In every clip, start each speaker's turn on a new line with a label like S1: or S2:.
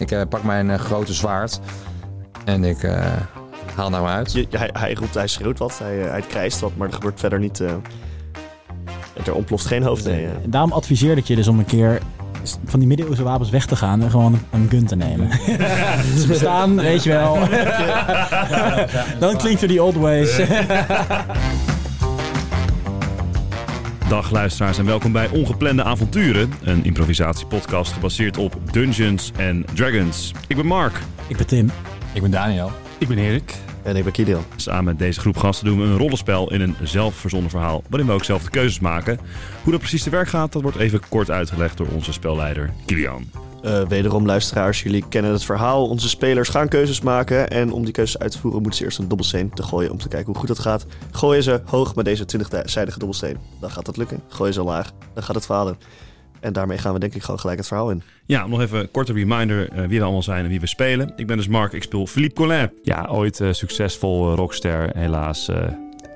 S1: ik eh, pak mijn eh, grote zwaard en ik eh, haal nou uit.
S2: Je- hij, hij roept, hij schreeuwt wat, hij, eh, hij krijst wat, maar er gebeurt verder niet... eh, er ontploft geen hoofd, nee. eh.
S3: En daarom adviseerde ik je dus om een keer s- van die middeleeuwse wapens weg te gaan en gewoon een- een gun te nemen. Ze bestaan, weet je wel. Don't cling to the old ways.
S4: Dag luisteraars en welkom bij Ongeplande Avonturen, een improvisatiepodcast gebaseerd op Dungeons and Dragons. Ik ben Mark.
S3: Ik ben Tim.
S1: Ik ben Daniel.
S5: Ik ben Erik.
S2: En ik ben Kiedeel.
S4: Samen met deze groep gasten doen we een rollenspel in een zelfverzonnen verhaal, waarin we ook zelf de keuzes maken. Hoe dat precies te werk gaat, dat wordt even kort uitgelegd door onze spelleider Kilian.
S2: Eh, wederom, luisteraars, jullie kennen het verhaal. Onze spelers gaan keuzes maken. En om die keuzes uit te voeren, moeten ze eerst een dobbelsteen te gooien om te kijken hoe goed dat gaat. Gooien ze hoog met deze 20-zijdige dobbelsteen, dan gaat dat lukken. Gooien ze laag, dan gaat het falen. En daarmee gaan we denk ik gewoon gelijk het verhaal in.
S4: Ja, nog even een korte reminder eh, wie we allemaal zijn en wie we spelen. Ik ben dus Mark, ik speel Philippe Collin.
S5: Ja, ooit eh, succesvol eh, rockster, helaas eh,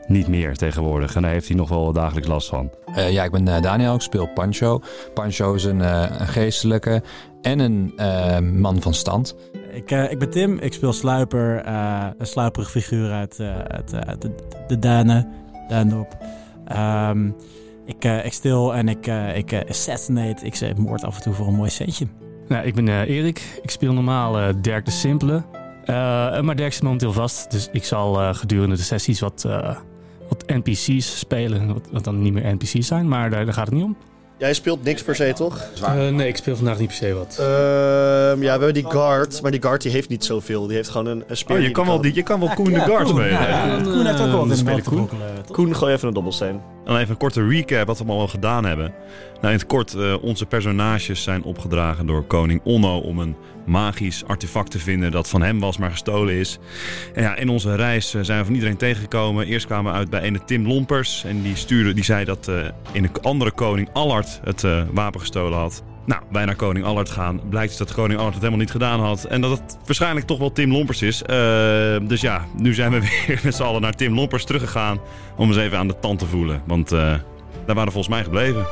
S5: niet meer tegenwoordig. En daar heeft hij nog wel dagelijks last van.
S1: Eh, ja, ik ben eh, Daniel, ik speel Pancho. Pancho is een, eh, een geestelijke en een eh, man van stand.
S3: Ik, eh, ik ben Tim, ik speel Sluiper, eh, een sluiperig figuur uit, eh, uit, eh, uit de, de Duinen, Duindorp. Ehm, ik, eh, ik stil en ik, eh, ik eh, assassinate, ik zeg moord af en toe voor een mooi centje.
S5: Nou, ik ben eh, Erik. Ik speel normaal eh, Dirk de Simpele. Eh, maar Dirk is momenteel vast, dus ik zal eh, gedurende de sessies wat, eh, wat NPC's spelen. Wat, wat dan niet meer NPC's zijn, maar daar, daar gaat het niet om.
S2: Jij speelt niks per se, toch?
S6: Eh, nee, ik speel vandaag niet per se wat.
S2: Ehm, ja, we hebben die guard, maar die guard die heeft niet zoveel. Die heeft gewoon een, een speer.
S4: Oh, je
S2: die
S4: kan wel, die, je kan wel Koen de Guard
S3: Koen,
S4: spelen.
S3: ja, Koen heeft ook wel wat in de
S5: speel
S3: bal
S5: ik
S3: te
S5: Koen.
S3: brokkelen, toch?
S2: Koen, gooi even een dobbelsteen.
S4: Dan Nou, even een korte recap wat we allemaal gedaan hebben. Nou, in het kort, eh, onze personages zijn opgedragen door koning Onno om een magisch artefact te vinden dat van hem was, maar gestolen is. En ja, in onze reis eh, zijn we van iedereen tegengekomen. Eerst kwamen we uit bij ene Tim Lompers en die, stuurde, die zei dat eh, in een andere koning Allard het eh, wapen gestolen had. Nou, wij naar koning Allard gaan. Blijkt dus dat koning Allard het helemaal niet gedaan had. En dat het waarschijnlijk toch wel Tim Lompers is. Eh, dus ja, nu zijn we weer met z'n allen naar Tim Lompers teruggegaan om eens even aan de tand te voelen. Want eh, daar waren we volgens mij gebleven.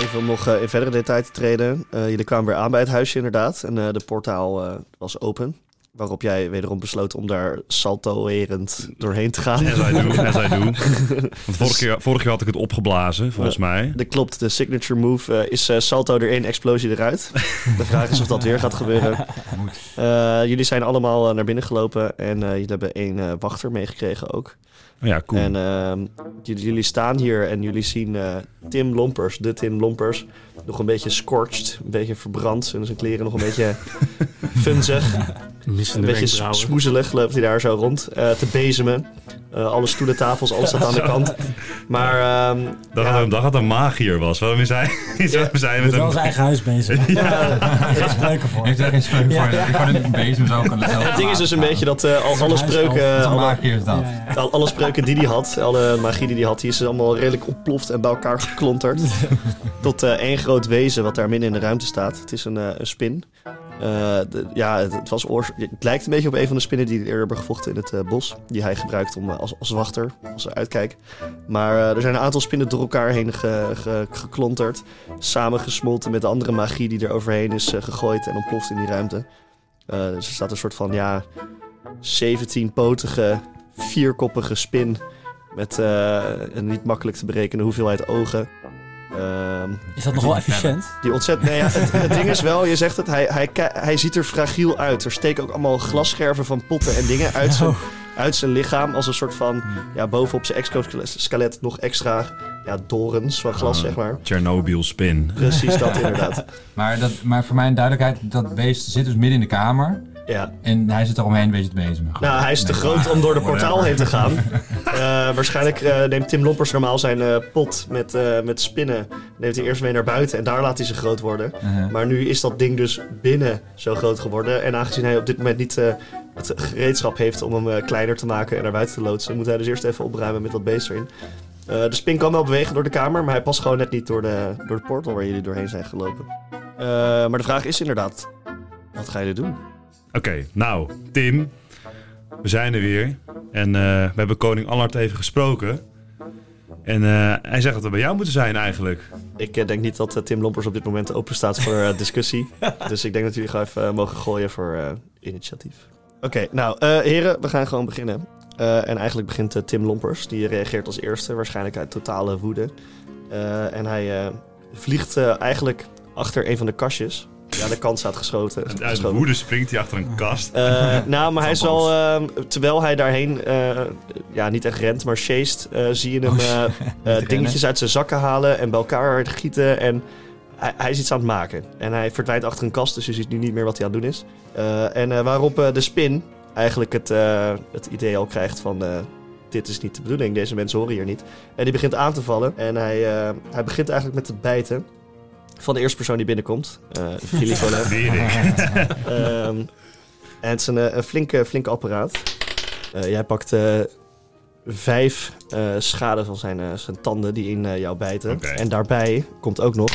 S2: Even om nog eh, in verdere detail te treden. Eh, jullie kwamen weer aan bij het huisje inderdaad. En eh, de portaal eh, was open. Waarop jij wederom besloot om daar saltoerend doorheen te gaan.
S4: As I do, as I do. Want
S2: Dus-
S4: vorige keer, vorige keer had ik het opgeblazen, volgens mij.
S2: Dat klopt, de signature move eh, is eh, salto erin, explosie eruit. De vraag is of dat weer gaat gebeuren. Eh, jullie zijn allemaal eh, naar binnen gelopen en eh, jullie hebben één eh, wachter meegekregen ook.
S4: Oh ja, cool.
S2: En ehm, jullie, jullie staan hier en jullie zien eh, Tim Lompers, de Tim Lompers, nog een beetje scorched, een beetje verbrand en zijn kleren nog een beetje funzig. Een
S6: Missende
S2: beetje s-
S6: wenkbrauwen.
S2: smoezelig loopt hij daar zo rond eh, te bezemen. Eh, alle stoelen, tafels, alles staat aan de kant. Maar ehm,
S4: dat,
S2: ja,
S4: had, dat had een magier was. Waarom is hij, waarom is hij
S3: Hij
S4: met
S3: is wel
S4: een...
S3: zijn eigen huis bezig. Ja, daar is spreuken voor.
S7: Heeft daar geen spreuk voor. Ik kan het een bezem zo kunnen zelf
S2: het ding is dus een beetje dat eh, al, alle
S3: Huis-
S2: spreuken...
S7: Zo
S2: alle-
S7: maak je dat.
S2: Al- alle spreuken die hij had, alle magie die hij had, die is allemaal redelijk ontploft en bij elkaar geklonterd. Tot eh, één groot wezen wat daar midden in de ruimte staat. Het is een, eh, een spin. Eh, de- ja, het, het was oors- het lijkt een beetje op een van de spinnen die hij eerder hebben gevochten in het eh, bos. Die hij gebruikt om, eh, als, als wachter, als uitkijk. Maar eh, er zijn een aantal spinnen door elkaar heen ge, ge- geklonterd. Samengesmolten met de andere magie die er overheen is eh, gegooid en ontploft in die ruimte. Eh, dus er staat een soort van, ja, 17-potige vierkoppige spin met eh, een niet makkelijk te berekenen hoeveelheid ogen. Ehm,
S3: Is dat nog wel efficiënt?
S2: die ontzettend. Nee, ja, het, het ding is wel, je zegt het, hij, hij, ki- hij ziet er fragiel uit. Er steken ook allemaal glasscherven van potten en dingen uit zijn,
S3: Oh,
S2: uit zijn lichaam. Als een soort van, ja, bovenop zijn exoskelet nog extra ja, dorens van glas,
S4: Ah.
S2: zeg maar.
S4: Chernobyl spin.
S2: Precies dat, inderdaad.
S7: Maar, dat, maar voor mijn duidelijkheid, dat beest zit dus midden in de kamer.
S2: Ja.
S7: En hij zit er omheen een beetje te bezemen.
S2: Nou, hij is te groot om door de portaal heen te gaan. Eh, waarschijnlijk eh, neemt Tim Lompers normaal zijn eh, pot met, eh, met spinnen. Neemt hij eerst mee naar buiten en daar laat hij ze groot worden.
S7: Uh-huh.
S2: Maar nu is dat ding dus binnen zo groot geworden. En aangezien hij op dit moment niet eh, het gereedschap heeft om hem eh, kleiner te maken en naar buiten te loodsen, moet hij dus eerst even opruimen met dat beest erin. Eh, de spin kan wel bewegen door de kamer, maar hij past gewoon net niet door de, door de portal waar jullie doorheen zijn gelopen. Eh, maar de vraag is inderdaad, wat ga je doen?
S4: Oké, nou, Tim. We zijn er weer. En eh, we hebben koning Allard even gesproken. En eh, hij zegt dat we bij jou moeten zijn eigenlijk.
S2: Ik eh, denk niet dat eh, Tim Lompers op dit moment open staat voor eh, discussie. dus ik denk dat jullie gewoon even eh, mogen gooien voor eh, initiatief. Oké, nou eh, heren, we gaan gewoon beginnen. Eh, en eigenlijk begint eh, Tim Lompers. Die reageert als eerste, waarschijnlijk uit totale woede. Eh, en hij eh, vliegt eh, eigenlijk achter een van de kastjes. Ja, de kant staat geschoten.
S4: En Uit
S2: Geschoten.
S4: woede springt hij achter een kast.
S2: Eh, nou, maar hij is
S4: Van
S2: wel, ehm, terwijl hij daarheen, eh, ja, niet echt rent, maar chased, eh, zie je hem eh, eh, dingetjes uit zijn zakken halen en bij elkaar gieten. En hij, hij is iets aan het maken. En hij verdwijnt achter een kast, dus je ziet nu niet meer wat hij aan het doen is. Eh, en eh, waarop eh, de spin eigenlijk het, eh, het idee al krijgt van... eh, dit is niet de bedoeling, deze mensen horen hier niet. En die begint aan te vallen. En hij, eh, hij begint eigenlijk met het bijten van de eerste persoon die binnenkomt. eh Philip Olet.
S7: Ah,
S4: Weer ik.
S2: Ehm, en het is een, eh, een flinke, flinke apparaat. Eh, jij pakt eh, vijf eh, schade van zijn, eh, zijn tanden die in eh, jou bijten.
S4: Oké. Oh.
S2: En daarbij komt ook nog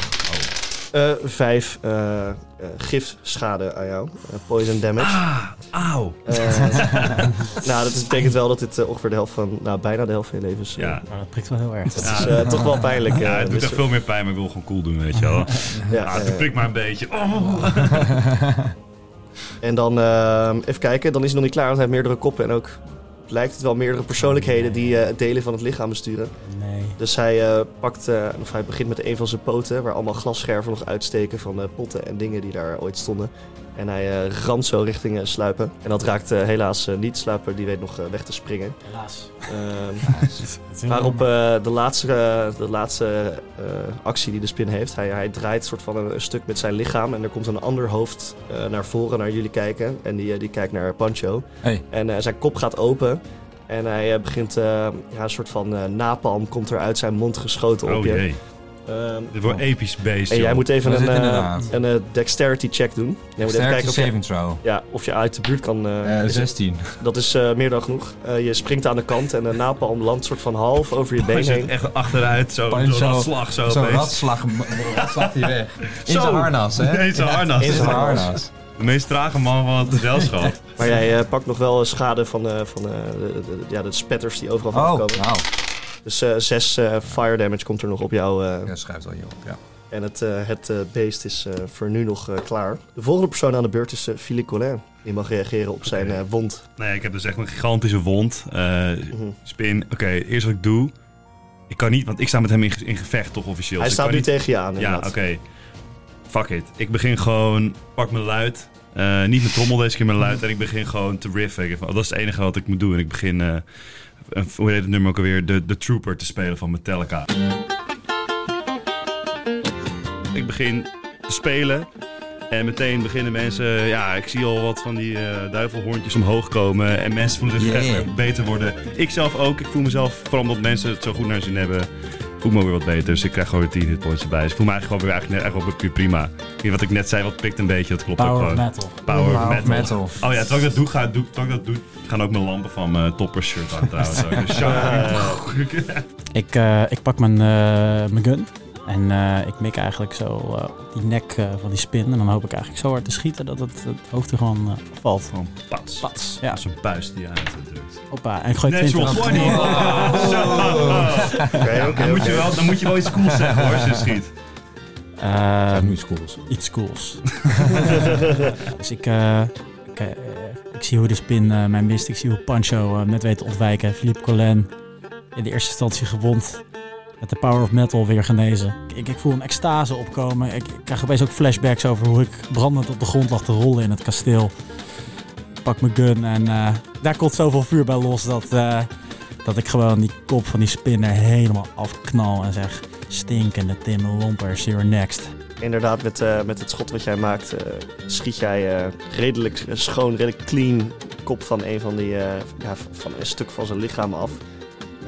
S2: eh, vijf eh eh gifschade aan jou. Eh, poison damage.
S4: Ah, auw.
S2: Eh, nou, dat is- betekent wel dat dit eh, ongeveer de helft van... Nou, bijna de helft van je leven is. eh,
S4: Ja,
S3: Maar dat prikt wel heel erg.
S2: Dat is eh, toch wel pijnlijk. eh,
S4: ja, het doet
S2: dus-
S4: echt veel meer pijn, maar ik wil gewoon cool doen, weet je wel.
S2: ja,
S4: Ah,
S2: eh,
S4: het prikt maar een beetje. Oh.
S2: En dan, ehm, even kijken, dan is hij nog niet klaar, want hij heeft meerdere koppen. En ook lijkt het wel meerdere persoonlijkheden die eh, het delen van het lichaam besturen.
S3: Nee.
S2: Dus hij, eh, pakt, eh, of hij begint met een van zijn poten, waar allemaal glasscherven nog uitsteken van eh, potten en dingen die daar ooit stonden. En hij eh ramt zo richting eh, Sluipen. En dat raakt eh, helaas eh, niet Sluipen, die weet nog eh, weg te springen.
S3: Helaas.
S2: Ehm,
S3: Het is heel
S2: waarop
S3: jammer.
S2: eh, de laatste, eh, de laatste eh, actie die de spin heeft, hij, hij draait soort van een, een stuk met zijn lichaam. En er komt een ander hoofd eh, naar voren, naar jullie kijken. En die, eh, die kijkt naar Pancho.
S1: Hey.
S2: En eh, zijn kop gaat open. En hij eh, begint, eh, ja, een soort van eh, napalm komt er uit zijn mond geschoten op
S4: oh
S2: je.
S4: jee,
S2: Ehm,
S4: dit wordt episch beest,
S2: en jij
S4: joh.
S2: moet even
S7: Dat
S2: een,
S7: is het
S2: eh,
S7: inderdaad.
S2: een eh, dexterity check doen. Jij moet even
S7: Sterkte
S2: kijken of je,
S7: saving throw.
S2: ja, of je uit de buurt kan. eh,
S7: Eh,
S2: is-
S7: 16.
S2: dat is eh, meer dan genoeg. Eh, je springt aan de kant en de napalm landt soort van half over je
S4: Hij
S2: been
S4: zit
S2: heen.
S4: echt achteruit, zo,
S7: Pan-
S4: door
S7: zo-
S4: dat slag zo
S7: Zo'n
S4: opeens.
S7: ratslag, ratslag hij weg. In
S4: Oh, Zo.
S7: zijn harnas, hè?
S4: Nee, zijn harnas.
S7: In zijn
S2: Ja.
S7: harnas.
S4: De meest trage man van het gezelschap.
S2: Maar jij eh, pakt nog wel schade van, eh, van eh, de, de- ja, de spetters die overal van
S7: Oh,
S2: komen.
S7: nou.
S2: Dus eh, zes eh, fire damage komt er nog op jou. eh,
S7: Ja, schuift al hier op, ja.
S2: En het, eh, het eh, beest is eh, voor nu nog eh, klaar. De volgende persoon aan de beurt is eh Philippe Collin. Die mag reageren op zijn eh, wond.
S4: Nee, ik heb dus echt een gigantische wond. Eh,
S2: Mhm.
S4: spin, oké, eerst wat ik doe. Ik kan niet, want ik sta met hem in, ge- in gevecht toch officieel.
S2: Hij
S4: Dus ik
S2: staat nu
S4: kan niet-
S2: tegen je aan.
S4: Ja,
S2: inderdaad.
S4: oké. Fuck it. Ik begin gewoon, pak mijn luid. Eh, niet mijn trommel deze keer, mijn luid. En ik begin gewoon te riffen. Ik denk van, oh, dat is het enige wat ik moet doen. En ik begin, eh, een- hoe heet het nummer ook alweer? De, de Trooper te spelen van Metallica. Ik begin te spelen. En meteen beginnen mensen, ja, ik zie al wat van die eh, duivelhoorntjes omhoog komen. En mensen voelen zich
S7: Yeah.
S4: echt beter worden. Ik zelf ook. Ik voel mezelf, vooral omdat mensen het zo goed naar hun zin hebben, voel ik me weer wat beter. Dus ik krijg gewoon weer 10 hitpoints erbij. Dus ik voel me eigenlijk gewoon weer, eigenlijk net, eigenlijk wel weer prima. In wat ik net zei, wat prikt een beetje, dat klopt ook
S3: Power of
S4: gewoon.
S3: metal.
S4: Power, of metal.
S7: metal.
S4: Oh ja, terwijl ik dat doe, ga, doe, terwijl ik dat doe gaan ook mijn lampen van mijn toppershirt aan trouwens. ook. Dus ja.
S3: Ik, eh, ik pak mijn, eh, mijn gun en eh, ik mik eigenlijk zo eh, op die nek eh, van die spin. En dan hoop ik eigenlijk zo hard te schieten dat het, het hoofd er gewoon eh, valt. Gewoon
S4: Pats.
S3: pats. Ja,
S4: Als een buis die je aan het drukt.
S3: hoppa. En ik gooi
S4: Natural
S3: 20.
S4: 20. Zo.
S7: Oh.
S2: Oké, oké,
S4: Dan moet, je
S2: oké.
S4: wel, dan moet je wel iets cools zeggen hoor, als je schiet.
S3: Eh,
S1: Zeg nu iets cools.
S3: iets cools. dus ik, eh, ik, eh, ik zie hoe de spin eh, mij mist. Ik zie hoe Pancho eh, net weet te ontwijken. Philippe Collin in de eerste instantie gewond. Met de power of metal weer genezen. Ik, ik voel een extase opkomen. Ik, ik krijg opeens ook flashbacks over hoe ik brandend op de grond lag te rollen in het kasteel. Ik pak mijn gun en eh, daar komt zoveel vuur bij los dat, eh, dat ik gewoon die kop van die spin er helemaal afknal en zeg... Stinkende Tim Lompers, you're next.
S2: Inderdaad, met, eh, met het schot wat jij maakt, eh, schiet jij eh, redelijk schoon, redelijk clean kop van een van die, eh, ja, van een stuk van zijn lichaam af.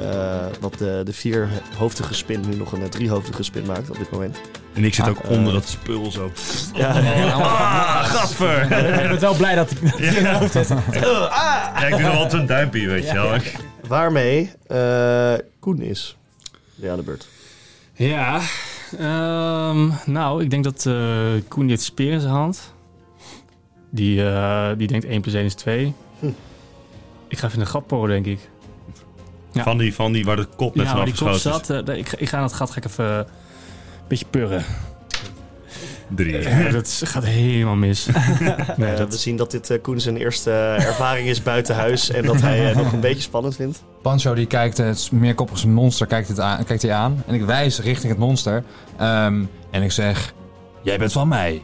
S2: Eh, wat de, de vierhoofdige spin nu nog een eh, driehoofdige spin maakt op dit moment.
S4: En ik zit ook
S2: Ah,
S4: onder
S2: eh.
S4: dat spul zo.
S2: Ja.
S4: Ah, gadver.
S3: ik ben wel blij dat ik dat hier in mijn hoofd zit.
S4: Ja, ik doe nog altijd zo'n duimpje, weet je wel.
S2: Waarmee eh, Koen is. Ja, de beurt.
S5: Ja, ehm, nou, ik denk dat eh, Koen dit speer in zijn hand. Die, eh, die denkt 1 plus 1 is 2.
S2: Hm.
S5: Ik ga even een grap porren, denk ik. Ja.
S4: Van, die, van die waar de kop net
S5: ja, waar
S4: vanaf
S5: die kop
S4: geschoten
S5: zat. eh, ik, ga- ik ga aan het gat ga ik even eh, een beetje purren.
S4: is. Drie.
S5: Ja, dat is- gaat helemaal mis. nee,
S2: Eh,
S5: dat
S2: we
S5: is
S2: zien dat dit eh, Koen zijn eerste eh, ervaring is buiten huis. En dat hij eh, nog een beetje spannend vindt.
S1: Pancho die kijkt, eh, het meerkoppige monster kijkt, het aan, kijkt hij aan. En ik wijs richting het monster. Ehm, en ik zeg, jij bent van mij.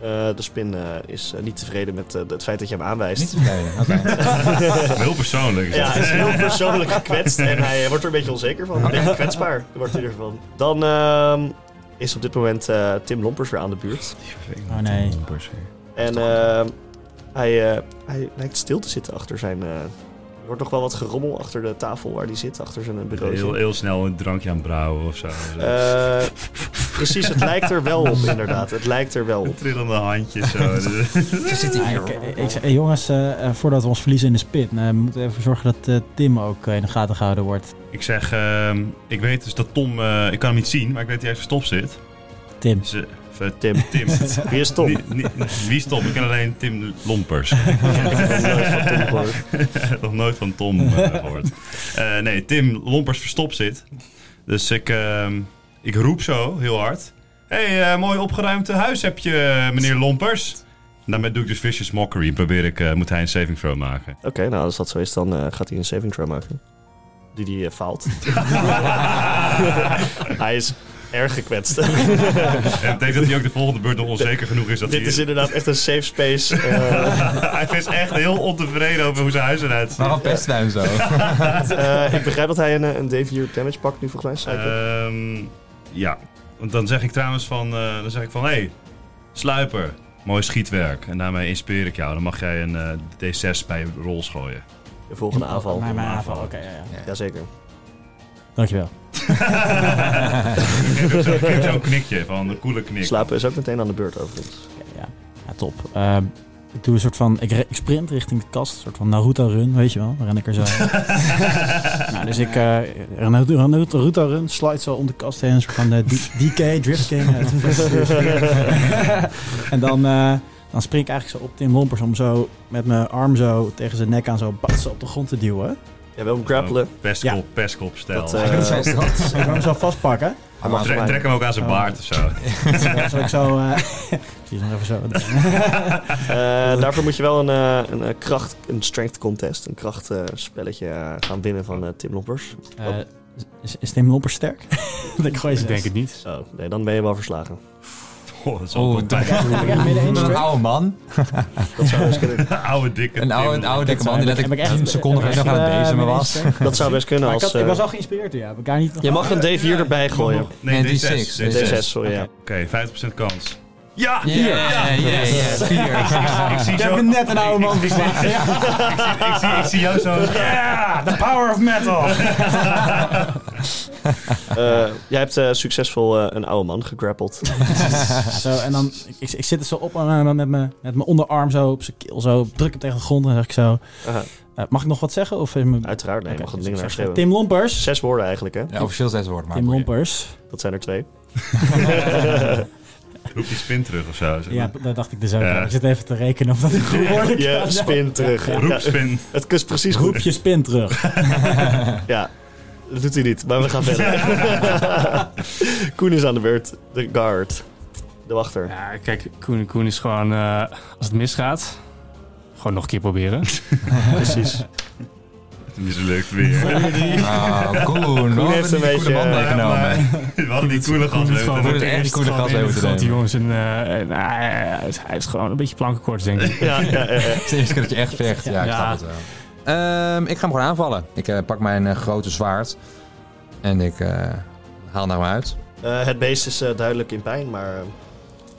S2: Eh, de spin eh, is eh, niet tevreden met eh, het feit dat je hem aanwijst.
S1: Niet tevreden. Oké.
S4: Heel persoonlijk. is
S2: Ja,
S4: dat.
S2: hij is heel persoonlijk gekwetst en hij eh, wordt er een beetje onzeker van. Een beetje kwetsbaar wordt hij ervan. Dan ehm, is op dit moment eh, Tim Lompers weer aan de buurt.
S3: Oh nee.
S2: En ehm, hij, eh, hij lijkt stil te zitten achter zijn... eh, er wordt nog wel wat gerommel achter de tafel waar hij zit, achter zijn eh, bureau.
S4: Heel, heel snel een drankje aan het brouwen of zo. Zo.
S2: Eh, precies, het lijkt er wel op inderdaad. Het lijkt er wel op.
S4: Trillende handjes. Zo.
S3: Ja, Ah, ik, ik zei, hey, jongens, eh, eh, voordat we ons verliezen in de spit, nou, we moeten even zorgen dat eh, Tim ook eh, in de gaten gehouden wordt.
S4: ik zeg, ehm, ik weet dus dat Tom, eh, ik kan hem niet zien, maar ik weet dat hij even stop zit.
S3: Tim.
S4: Dus, eh, even-
S2: Tim.
S4: Tim.
S2: Wie is Tom?
S4: Ni- ni- Wie is Tom? Ik ken alleen Tim Lompers. Nog nooit van Tom eh, gehoord. Eh, nee, Tim Lompers verstopt zit. Dus ik, ehm, ik roep zo heel hard. Hé, hey, eh, mooi opgeruimd huis heb je, eh, meneer Lompers. En daarmee doe ik dus Vicious Mockery. Probeer ik, eh, moet hij een saving throw maken.
S2: Oké, nou als dat zo is, dan eh, gaat hij een saving throw maken. Die hij eh, faalt. hij is erg gekwetst.
S4: En dat betekent dat hij ook de volgende beurt nog onzeker genoeg is. Dat
S2: Dit
S4: hij,
S2: is inderdaad echt een safe space. Eh,
S4: hij is echt heel ontevreden over hoe zijn huis eruit ziet.
S7: Waarom pesten wij hem zo?
S2: eh, ik begrijp dat hij een, eh, een D4 damage pakt nu volgens mij. Cyclop.
S4: Ehm, ja, want dan zeg ik trouwens van, eh, dan zeg ik van, hé, hey, sluiper, mooi schietwerk. En daarmee inspireer ik jou. Dan mag jij een eh, D6 bij je rolls gooien.
S2: de volgende aanval.
S3: Mijn, mijn
S4: aanval.
S3: aanval, oké. ja, ja.
S2: Jazeker.
S3: Dankjewel.
S4: ik geef hem zo- ik geef zo'n knikje van een coole knik.
S2: Slapen is ook meteen aan de beurt overigens.
S3: Oké, ja. ja, top. Ehm, ik doe een soort van, ik, re- ik sprint richting de kast, een soort van Naruto-run, weet je wel. Dan ren ik er zo Nou, dus ik eh een Naruto Ruta run, slide zo om de kast heen, een soort van eh, D- DK, Drift King. uit Fast and Furious. en dan, eh, dan spring ik eigenlijk zo op Tim Lompers om zo met mijn arm zo tegen zijn nek aan zo batsen op de grond te duwen.
S2: Ja, wel hem grappelen.
S4: Pestkop,
S3: Ja.
S4: pestkop stijl.
S2: Dat,
S7: Dat is
S2: eh
S7: wel straf.
S3: Dus Ik wil hem zo vastpakken,
S2: hij
S4: Of
S2: mag
S4: trek,
S2: hem
S4: trek hem ook aan zijn
S3: Oh.
S4: baard of zo.
S3: zodat ik zo... eh precies, nog even zo.
S2: aan. Eh, daarvoor moet je wel een, eh, een eh, kracht, een strength contest, een krachtspelletje spelletje eh, gaan winnen van eh, Tim Lompers.
S3: Eh, is, is Tim Lompers sterk? ik gooi
S5: Ik
S3: zes.
S5: denk het niet.
S2: Oh, nee, dan ben je wel verslagen.
S4: Oh, dat is
S7: Oh,
S4: wel
S7: dat
S4: een
S7: een oude man.
S2: Dat zou best kunnen.
S4: oude dikke
S7: Een oude, een
S4: Tim.
S7: oude dikke man die
S3: Heb ik- heb ik
S7: letterlijk
S3: echt-
S7: 10 seconden
S3: heb ik
S7: geleden nog
S3: echt,
S7: aan het
S3: eh,
S7: bezemen
S3: mijn
S7: was.
S3: eerste-
S2: Dat zou best kunnen
S3: Maar ik,
S2: als...
S3: had, ik
S2: eh,
S3: was al geïnspireerd, ja. Heb ik daar niet...
S2: je mag een D4 erbij gooien.
S4: Nee,
S7: Nee,
S4: D6.
S7: D6.
S4: D6.
S2: D6, sorry. Ja.
S4: Oké, 50% kans. Ja!
S7: Ja, ja, ja. Vier.
S4: Ik zie
S3: Je hebt
S4: zo...
S3: me net een oude man verslagen. Ja.
S4: Ik zie, ik zie jou zo...
S3: Ah, the power of metal.
S2: Eh, jij hebt eh, succesvol eh, een oude man gegrappeld.
S3: zo, en dan, ik, ik zit er zo op eh, met, mijn, met mijn onderarm zo op zijn keel zo, druk hem tegen de grond en zeg ik zo,
S2: Aha.
S3: eh, mag ik nog wat zeggen? Of is mijn...
S2: Uiteraard, nee,
S3: Oké,
S2: mag het
S3: dus
S2: ding
S3: ik
S2: naar
S3: zeg,
S2: schreeuwen.
S3: Tim Lompers.
S2: Zes woorden eigenlijk, hè?
S7: Ja, officieel zes woorden, maar...
S3: Tim
S7: boeien.
S3: Lompers.
S2: Dat zijn er twee.
S4: Roep die spin terug of zo. zeg
S3: Ja,
S4: maar.
S3: dat dacht ik dus ook.
S4: Ja.
S3: Ik zit even te rekenen of dat ik goed word.
S2: Je
S3: kan.
S2: spin terug.
S4: Roep
S2: Ja,
S4: spin.
S2: het kust precies
S3: Roep
S2: goed.
S3: je spin terug.
S2: Ja, dat doet hij niet, maar we gaan verder. Koen is aan de beurt. De guard. De wachter.
S5: Ja, kijk, Koen, Koen is gewoon, eh, als het misgaat, gewoon nog een keer proberen.
S2: Precies.
S4: Mislukt weer.
S7: Ah, Koen. We
S2: heeft een
S7: hebben een
S2: beetje,
S7: goede man
S2: eh,
S7: meegenomen.
S4: We hadden die coole gast
S5: Koen
S7: Voor
S4: leuk.
S7: de echt coole gast
S5: gewoon in
S7: over
S5: de
S7: te
S5: grote
S7: nemen.
S5: jongens. En, eh, en, eh, hij is- hij is gewoon een beetje plankenkort, denk ik.
S2: Ja, ja, ja, ja.
S7: Het is de eerste keer dat je echt vecht. Ja, ik
S5: Ja.
S7: snap het wel. Ehm, ik ga hem gewoon aanvallen. Ik eh, pak mijn eh, grote zwaard. En ik eh, haal naar hem uit.
S2: Eh, het beest is eh, duidelijk in pijn, maar eh,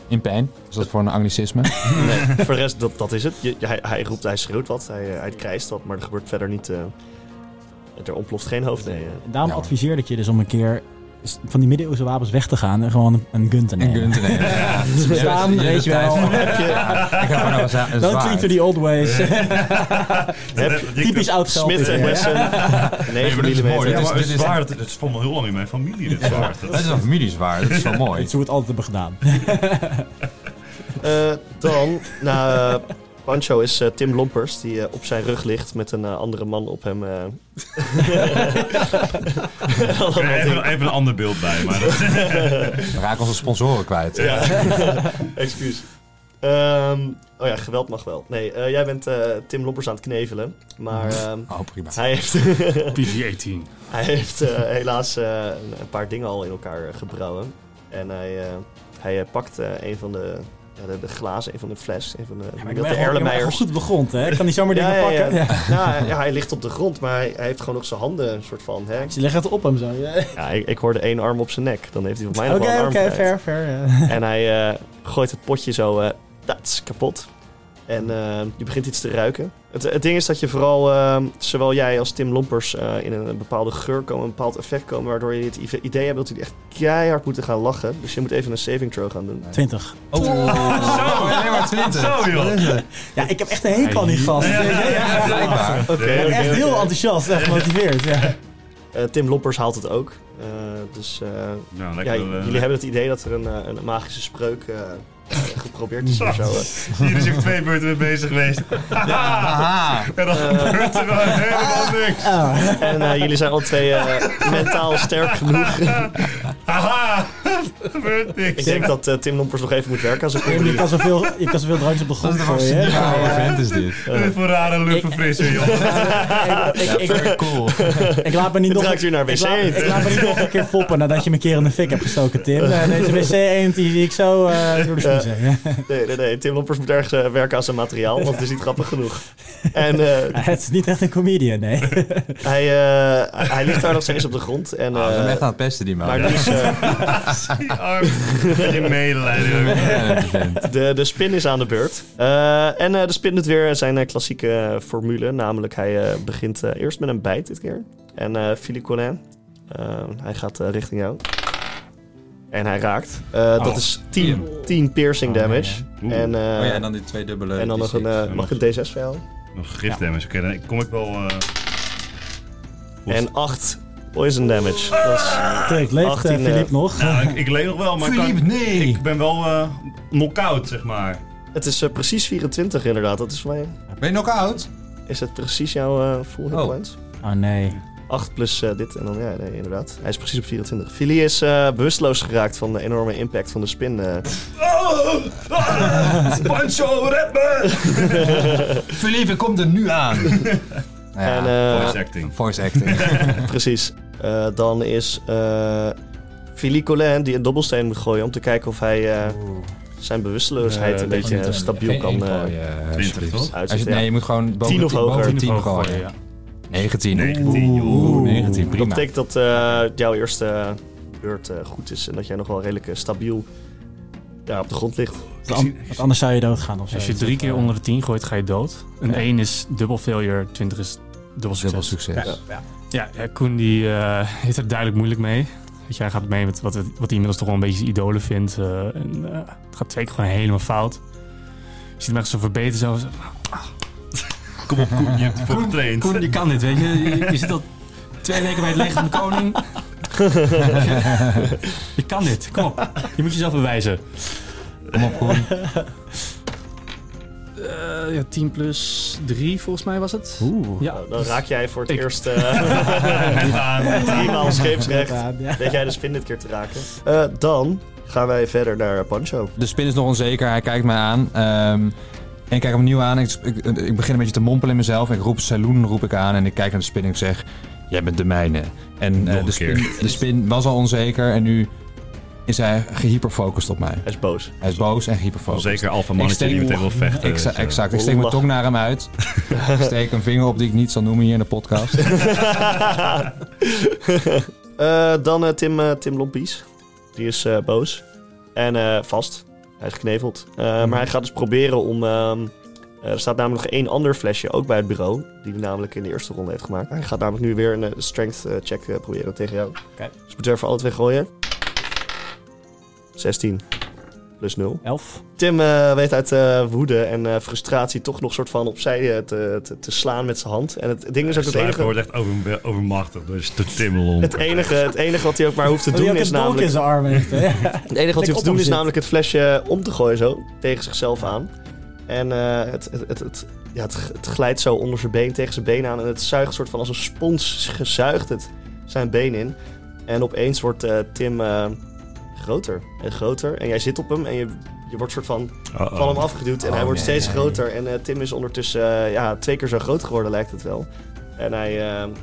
S7: In pijn. Is dat voor een anglicisme?
S2: nee, voor de rest, dat, dat is het. Je- je- hij, hij roept, hij schreeuwt wat, hij, eh, hij krijst wat, maar er gebeurt verder niet... eh, er ontploft geen hoofd, nee. eh.
S3: Daarom
S7: Ja.
S3: adviseer ik je dus om een keer van die middeleeuwse wapens weg te gaan en gewoon een gun te
S7: Een
S3: nemen.
S7: gun te nemen. Ja.
S3: Ze bestaan,
S7: Je hebt- hebt
S3: weet je
S7: de tijd
S3: wel.
S7: voor. Ik ga gewoon een za- een
S3: Don't cling to
S7: zwaard.
S3: the old ways.
S4: Dat- dat- dus,
S3: Typisch oud geld.
S2: Smith
S3: is dit,
S2: en
S3: hè?
S2: Wesson, 9
S4: dit is mooi.
S2: mm.
S4: Dit
S7: dit
S4: is,
S7: is- dit is-
S4: zwaard. Het stond al heel lang in mijn familie, dit zwaard. Dat
S7: Dat is een familiezwaard. Dat is wel mooi.
S3: Dit is hoe we het altijd hebben gedaan.
S2: Eh, dan, na eh, Pancho is eh, Tim Lompers, die eh, op zijn rug ligt met een eh, andere man op hem. eh. Allemaal dingen.
S4: Even, even een ander beeld bij, maar dat Nou,
S7: We raken onze sponsoren kwijt.
S2: Ja, excuus. Ehm, oh ja, geweld mag wel. Nee, eh, jij bent eh, Tim Lompers aan het knevelen. Maar ehm,
S7: Oh, prima.
S2: hij heeft,
S5: PG-18.
S2: hij heeft eh, helaas eh, een- een paar dingen al in elkaar eh, gebrouwen. En hij, eh, hij eh, pakt eh, een van de, ja, de, de glazen, een van de fles, een van de,
S3: Maar ik
S2: dat
S3: ben
S2: de
S3: gewoon- ik ben gewoon
S2: Erlenmeyers.
S3: goed begrond, hè? Ik kan die zomaar dingen
S2: ja, ja,
S3: pakken.
S2: ja.
S3: Ja.
S2: Nou, ja, hij ligt op de grond, maar hij, hij heeft gewoon nog zijn handen een soort van. Hè?
S3: Dus je legt het op hem zo. ja.
S2: Ja, ik, ik hoorde één arm op zijn nek. Dan heeft hij volgens mij
S3: Oké,
S2: nog wel een
S3: oké,
S2: arm kwijt.
S3: fair, fair. ja.
S2: En hij eh, gooit het potje zo, eh, dat is kapot. En eh, je begint iets te ruiken. Het, het ding is dat je vooral, eh, zowel jij als Tim Lompers, eh, in een bepaalde geur komen, een bepaald effect komen, waardoor je het i- idee hebt dat jullie echt keihard moeten gaan lachen. Dus je moet even een saving throw gaan doen.
S3: 20.
S7: Oh, zo, alleen maar 20.
S4: Zo, joh.
S7: Wat is het?
S3: Ja, ik heb echt een hekel aan die gast. Ja, ja, ja.
S7: Blijkbaar.
S2: Oké,
S3: Ik ben echt heel enthousiast en gemotiveerd. Ja.
S2: Eh, Tim Lompers haalt het ook. Eh, dus eh,
S4: Nou,
S2: ja,
S4: lekker.
S2: j-
S4: eh,
S2: jullie hebben het idee dat er een, eh, een magische spreuk eh, geprobeerd is of zo. eh.
S4: Hier is ook twee beurten mee bezig geweest.
S7: Aha.
S4: En dan gebeurt er gewoon helemaal niks.
S3: Oh.
S2: En eh, jullie zijn al twee eh, mentaal sterk genoeg.
S4: Haha, er gebeurt
S2: Ik
S4: niks.
S2: denk dat eh, Tim Lompers nog even moet werken aan zijn
S3: Je,
S2: comedy.
S3: kan zoveel, je kan zoveel drankjes op de
S7: Dat
S3: grond
S7: is toch een
S3: gooien. hè?
S7: zieke oude vent is dit.
S4: Wat voor rare luchtverfrisser, joh.
S3: Ik, ik, ik,
S7: cool.
S3: ik laat me niet
S2: Dit
S3: nog...
S2: ruikt weer naar wc.
S3: Ik laat, ik laat me niet nog een keer foppen nadat je me een keer in de fik hebt gestoken, Tim. Eh, Deze wc-eend die zie ik zo eh, door de smiezen. Ja.
S2: Nee, nee, nee. Tim Lompers moet ergens eh, werken aan zijn materiaal, want het is niet grappig genoeg. En eh,
S3: Het is niet echt een comedian, nee.
S2: hij, eh, hij- hij ligt daar nog steeds op de grond. En,
S7: We zijn
S2: eh,
S7: echt Ah, aan het pesten, die man.
S2: maar nu is, eh,
S4: Die arm. Beetje medelijden. ook.
S2: de, de spin is aan de beurt. Eh, en eh, de spin doet weer zijn eh, klassieke eh, formule. Namelijk, hij eh, begint eh, eerst met een bijt dit keer. En eh Philippe Collin, eh, hij gaat eh, richting jou. En hij raakt. Eh, dat
S3: Oh,
S2: is 10 10 piercing
S3: Oh, nee,
S2: damage.
S4: Oeh.
S2: En, eh,
S7: Oh ja, en dan die twee dubbele.
S2: en dan nog een, eh,
S4: Ja,
S2: mag
S4: nog-
S2: ik een D6-vel?
S4: Nog gifdamage. Oké, dan kom ik wel... eh, goed.
S2: En 8 poison damage. Dat is-
S3: Kijk, leeft eh,
S2: 18, eh,
S3: Philippe nog?
S4: Nou, ik, ik leef nog wel, maar ik kan-
S7: nee!
S4: ik ben wel eh knock-out, zeg maar.
S2: Het is eh, precies 24 inderdaad. Dat is voor mij.
S7: Ben je knock-out?
S2: Is het precies jouw eh full hit
S7: Oh.
S2: points?
S3: Oh nee.
S2: 8 plus eh, dit en dan ja, nee, inderdaad. Hij is precies op 24. Philly is eh, bewusteloos geraakt van de enorme impact van de spin. eh.
S4: Oh, ah, Pancho, red me!
S7: Philippe, kom er nu aan! Nou
S2: en
S7: ja,
S2: eh,
S4: Voice acting.
S7: voice acting.
S2: precies. Eh, dan is eh Philly Collin die een dobbelsteen moet gooien om te kijken of hij eh, zijn bewusteloosheid
S5: Eh,
S2: een beetje eh,
S5: dat-
S2: stabiel kan eh,
S7: Als je,
S2: uitzetten.
S7: nee,
S2: ja.
S7: je moet gewoon boven
S2: Tien of
S7: tien- boven
S2: hoger.
S7: tien
S5: Hoog
S7: gooien.
S5: gooien, ja.
S7: 19.
S4: 19, joh.
S7: Oeh, 19,
S2: Dat
S7: prima.
S2: betekent dat eh, jouw eerste beurt eh, goed is en dat jij nog wel redelijk eh, stabiel daar op de grond ligt.
S3: Want an- want anders zou je doodgaan of zo.
S5: Als je drie keer onder de 10 gooit, ga je dood. Een 1 is dubbel failure, 20 is dubbel
S7: Dubbel
S5: succes.
S7: succes.
S5: Ja, eh, Koen die, eh, heeft er duidelijk moeilijk mee. Weet je, hij gaat mee met wat, wat hij inmiddels toch wel een beetje zijn idolen vindt. eh, en, eh, het gaat twee keer gewoon helemaal fout. Je ziet hem echt zo verbeteren. Zo, zo,
S4: Kom op, Koen, je hebt ervoor getraind.
S5: Koen, je kan dit, weet je. Je, je zit al twee weken bij het leger van de koning. je kan dit, kom op. Je moet jezelf bewijzen.
S7: Kom op, Koen.
S5: Eh, ja, 10 plus 3 volgens mij was het.
S3: Oeh.
S5: Ja,
S2: Nou, dan raak jij voor het
S5: Ik-
S2: eerst eh driemaal scheepsrecht.
S3: Ja.
S2: Weet jij de spin dit keer te raken? Eh, dan gaan wij verder naar Pancho.
S7: De spin is nog onzeker, hij kijkt mij aan. ehm, en ik kijk hem opnieuw aan. Ik, ik, ik begin een beetje te mompelen in mezelf. Ik roep Saloon roep ik aan en ik kijk naar de spin en ik zeg... Jij bent de mijne. En eh,
S4: een
S7: de, spin,
S4: keer.
S7: de spin was al onzeker en nu is hij gehyperfocust op mij.
S2: Hij is boos.
S7: Hij is boos en gehyperfocust.
S4: Zeker alpha
S7: Ik
S4: mannetje
S7: steek-
S4: die meteen wil vechten.
S7: Exa-
S4: dus, eh,
S7: exact. Ik steek mijn tong naar hem uit. ik steek een vinger op die ik niet zal noemen hier in de podcast.
S2: Eh, dan eh, Tim, eh, Tim Lompies. Die is eh, boos. En eh, vast. Hij is gekneveld. Eh, Maar hij gaat dus proberen om... ehm, eh, er staat namelijk nog één ander flesje, ook bij het bureau. Die hij namelijk in de eerste ronde heeft gemaakt. Hij gaat namelijk nu weer een eh, strength eh, check eh, proberen tegen jou.
S3: Oké.
S2: Dus moet je even alle twee gooien. 16. Plus 0.
S3: Elf.
S2: Tim eh, weet uit eh, woede en eh, frustratie toch nog soort van opzij eh, te, te, te slaan met zijn hand. En het ding is ook het
S4: Sluiper
S2: enige,
S4: wordt echt over, overmachtig door
S8: dus
S4: de Timmerlomp.
S2: het enige, het enige wat hij ook maar hoeft te
S3: Dat hij
S2: doen
S3: ook
S2: is
S3: Oh, een dolk in
S2: namelijk...
S3: zijn arm heeft. hè?
S2: Het enige wat hij
S3: Lekker
S2: hoeft te doen is
S3: opgezet.
S2: namelijk het flesje om te gooien zo, tegen zichzelf aan. En eh, het, het, het, het- ja, het, het glijdt zo onder zijn been tegen zijn been aan. En het zuigt soort van als een spons gezuigt het zijn been in. En opeens wordt eh, Tim eh, groter en groter. En jij zit op hem en je, je wordt soort van
S8: Uh-oh.
S2: van hem afgeduwd. En
S7: Oh,
S2: hij wordt
S7: nee,
S2: steeds
S7: nee.
S2: groter. En eh, Tim is ondertussen eh, ja, twee keer zo groot geworden, lijkt het wel. En hij, eh,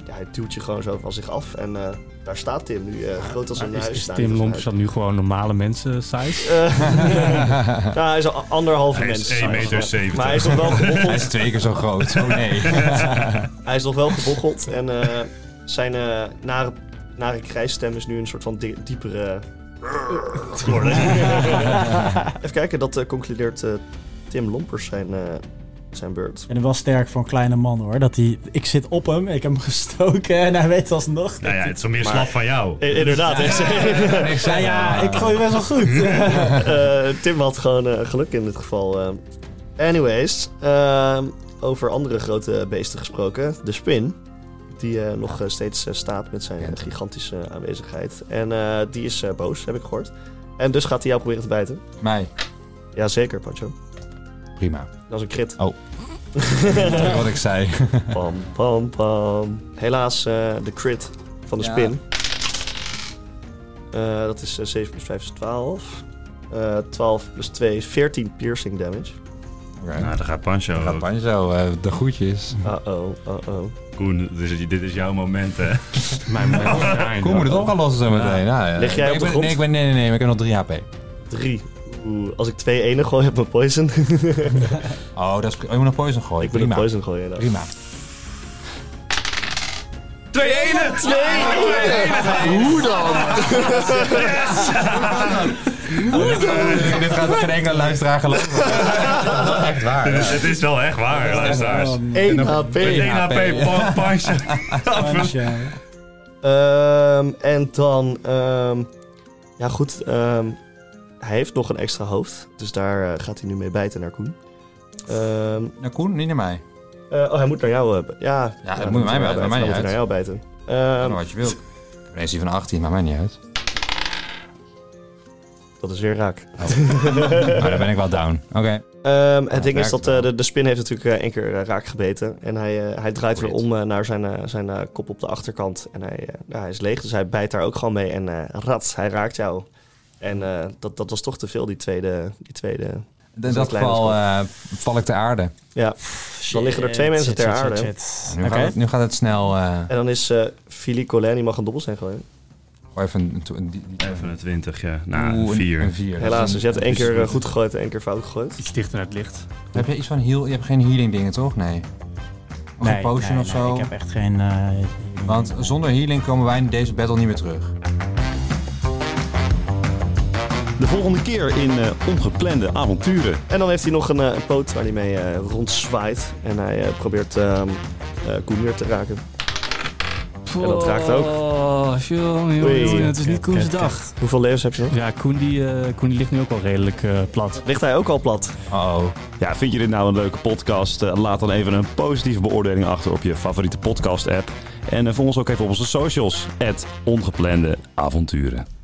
S2: ja, hij duwt je gewoon zo van zich af. En eh, daar staat Tim nu, eh, groot
S7: Ah,
S2: als een
S5: Is,
S2: huis.
S5: is
S2: staan.
S5: Tim
S2: Dus
S5: Lompers dan nu gewoon normale mensen size?
S2: hij- eh, nou, hij is al anderhalve
S8: Hij
S2: mens.
S8: is 1,70 meter.
S2: Maar hij is nog wel
S7: Hij
S2: gebocheld.
S7: is twee keer zo groot. Oh nee.
S2: hij is nog wel gebocheld. En eh, zijn eh, nare, nare krijsstem is nu een soort van di- diepere... geworden. Even kijken, dat eh, concludeert eh, Tim Lompers zijn, eh, zijn beurt.
S3: Ik vind hem wel sterk voor een kleine man hoor. Dat hij, ik zit op hem, ik heb hem gestoken en hij weet alsnog.
S8: Nou ja, het is wel meer
S2: Maar- Eh,
S8: slap van jou.
S2: I- Inderdaad, hè.
S3: Ja, Nou ja, ik gooi best wel goed.
S2: Eh, Tim had gewoon eh, geluk in dit geval. eh. Anyways, ehm, over andere grote beesten gesproken. De spin, die eh, nog eh, steeds eh, staat met zijn eh, gigantische aanwezigheid. En eh, die is eh, boos, heb ik gehoord. En dus gaat hij jou proberen te bijten.
S7: Mij.
S2: Jazeker, Pancho.
S7: Prima.
S2: Dat is een crit.
S7: Wat ik zei.
S2: Pam, pam, pam. Helaas, eh, de crit van de
S7: Ja.
S2: spin. Eh, dat is eh, 7 plus 5 is 12. Eh, 12 plus 2 is 14 piercing damage.
S7: Oké.
S8: Nou, daar gaat Pancho.
S7: Gaat Panjo, eh, de groetjes.
S2: Uh-oh, uh-oh.
S8: Koen, dit is, dit is jouw moment, hè?
S5: Mijn mijn-
S7: Hoe moet het op gaan lossen zo meteen? Nou, Ja, ja.
S2: Lig jij
S7: Ik
S2: op de
S7: ben-
S2: grond?
S7: Nee, ik ben, nee, nee, nee, maar ik heb nog 3 HP.
S2: 3. Oeh, als ik twee ene gooi, heb ik mijn poison.
S7: Oh, dat is, oh, je moet nog poison gooien.
S2: ik wil een
S7: Prima.
S2: poison gooien. inderdaad.
S7: Prima.
S8: Twee ene!
S2: Hoe dan?
S7: Eh, Dit gaat geen enkele luisteraar geloven. Dat is echt waar. ja.
S8: Eh, Het is wel echt waar, luisteraars.
S3: Oh,
S2: 1 HP.
S8: Met 1
S7: HP.
S8: HP, pan- Pancho.
S3: man, ja.
S2: Ehm, en dan... ehm, ja, goed. ehm, hij heeft nog een extra hoofd. Dus daar eh, gaat hij nu mee bijten naar Koen. Ehm,
S7: Naar Nou, Koen, niet naar mij.
S2: eh, oh, hij moet naar jou... eh, b- ja,
S7: Ja, hij moet naar mij bijten,
S2: Hij
S7: mij
S2: moet
S7: niet
S2: naar jou bijten. Ehm,
S7: Nou, wat je wilt. Ik heb ineens die van 18, maar mij niet uit.
S2: dat is weer raak.
S7: Maar dan ben ik wel down. Oké.
S2: Ehm, het ding
S7: werkt
S2: is dat eh, de, de spin heeft natuurlijk eh, één keer eh, raak gebeten. En hij, eh, hij draait weer
S7: Great.
S2: om eh, naar zijn, eh, zijn eh, kop op de achterkant. En hij, eh, ja, hij is leeg, dus hij bijt daar ook gewoon mee. En eh rat, hij raakt jou. En eh, dat, dat was toch te veel, die tweede. Die tweede.
S7: In dat
S2: kleine
S7: geval
S2: schot.
S7: eh, val ik te aarde.
S2: Ja, dan liggen er twee mensen
S3: Shit,
S2: ter
S3: shit, shit,
S2: aarde.
S3: shit.
S7: Nu,
S3: Oké.
S7: gaat, het, nu gaat het snel. eh
S2: En dan is eh Philly Colin, die mag een dobbel zijn gewoon.
S7: gooi oh, even een, to- een, die- die-
S8: Even een 20, ja. Nou,
S7: Oeh,
S8: een
S7: een-
S8: 4.
S7: een vier.
S2: Helaas, dus je hebt één
S7: Dus-
S2: keer eh, goed gegooid en één keer fout gegooid.
S5: Iets dichter naar het licht.
S7: Heb je iets van heal? Je hebt geen healing dingen, toch? Nee. Of een potion
S3: nee,
S7: of zo?
S3: nee, ik heb echt geen... eh,
S7: Want zonder healing komen wij in deze battle niet meer terug.
S4: De volgende keer in eh, Ongeplande Avonturen.
S2: En dan heeft hij nog een, eh, een poot waar hij mee eh, rondzwaait. En hij eh, probeert ehm eh, Koen weer te raken. En dat raakt ook.
S5: Oh, jongen,
S2: Oei.
S5: jongen, het is niet
S3: Kut,
S5: Koen's
S3: kut,
S5: dag.
S2: Hoeveel levens heb je nog?
S5: Ja, Koen die, eh, Koen die ligt nu ook al redelijk eh, plat.
S2: Ligt hij ook al plat?
S7: Oh,
S4: Ja, vind je dit nou een leuke podcast? Eh, Laat dan even een positieve beoordeling achter op je favoriete podcast app. En eh, volg ons ook even op onze socials. Het Ongeplande Avonturen.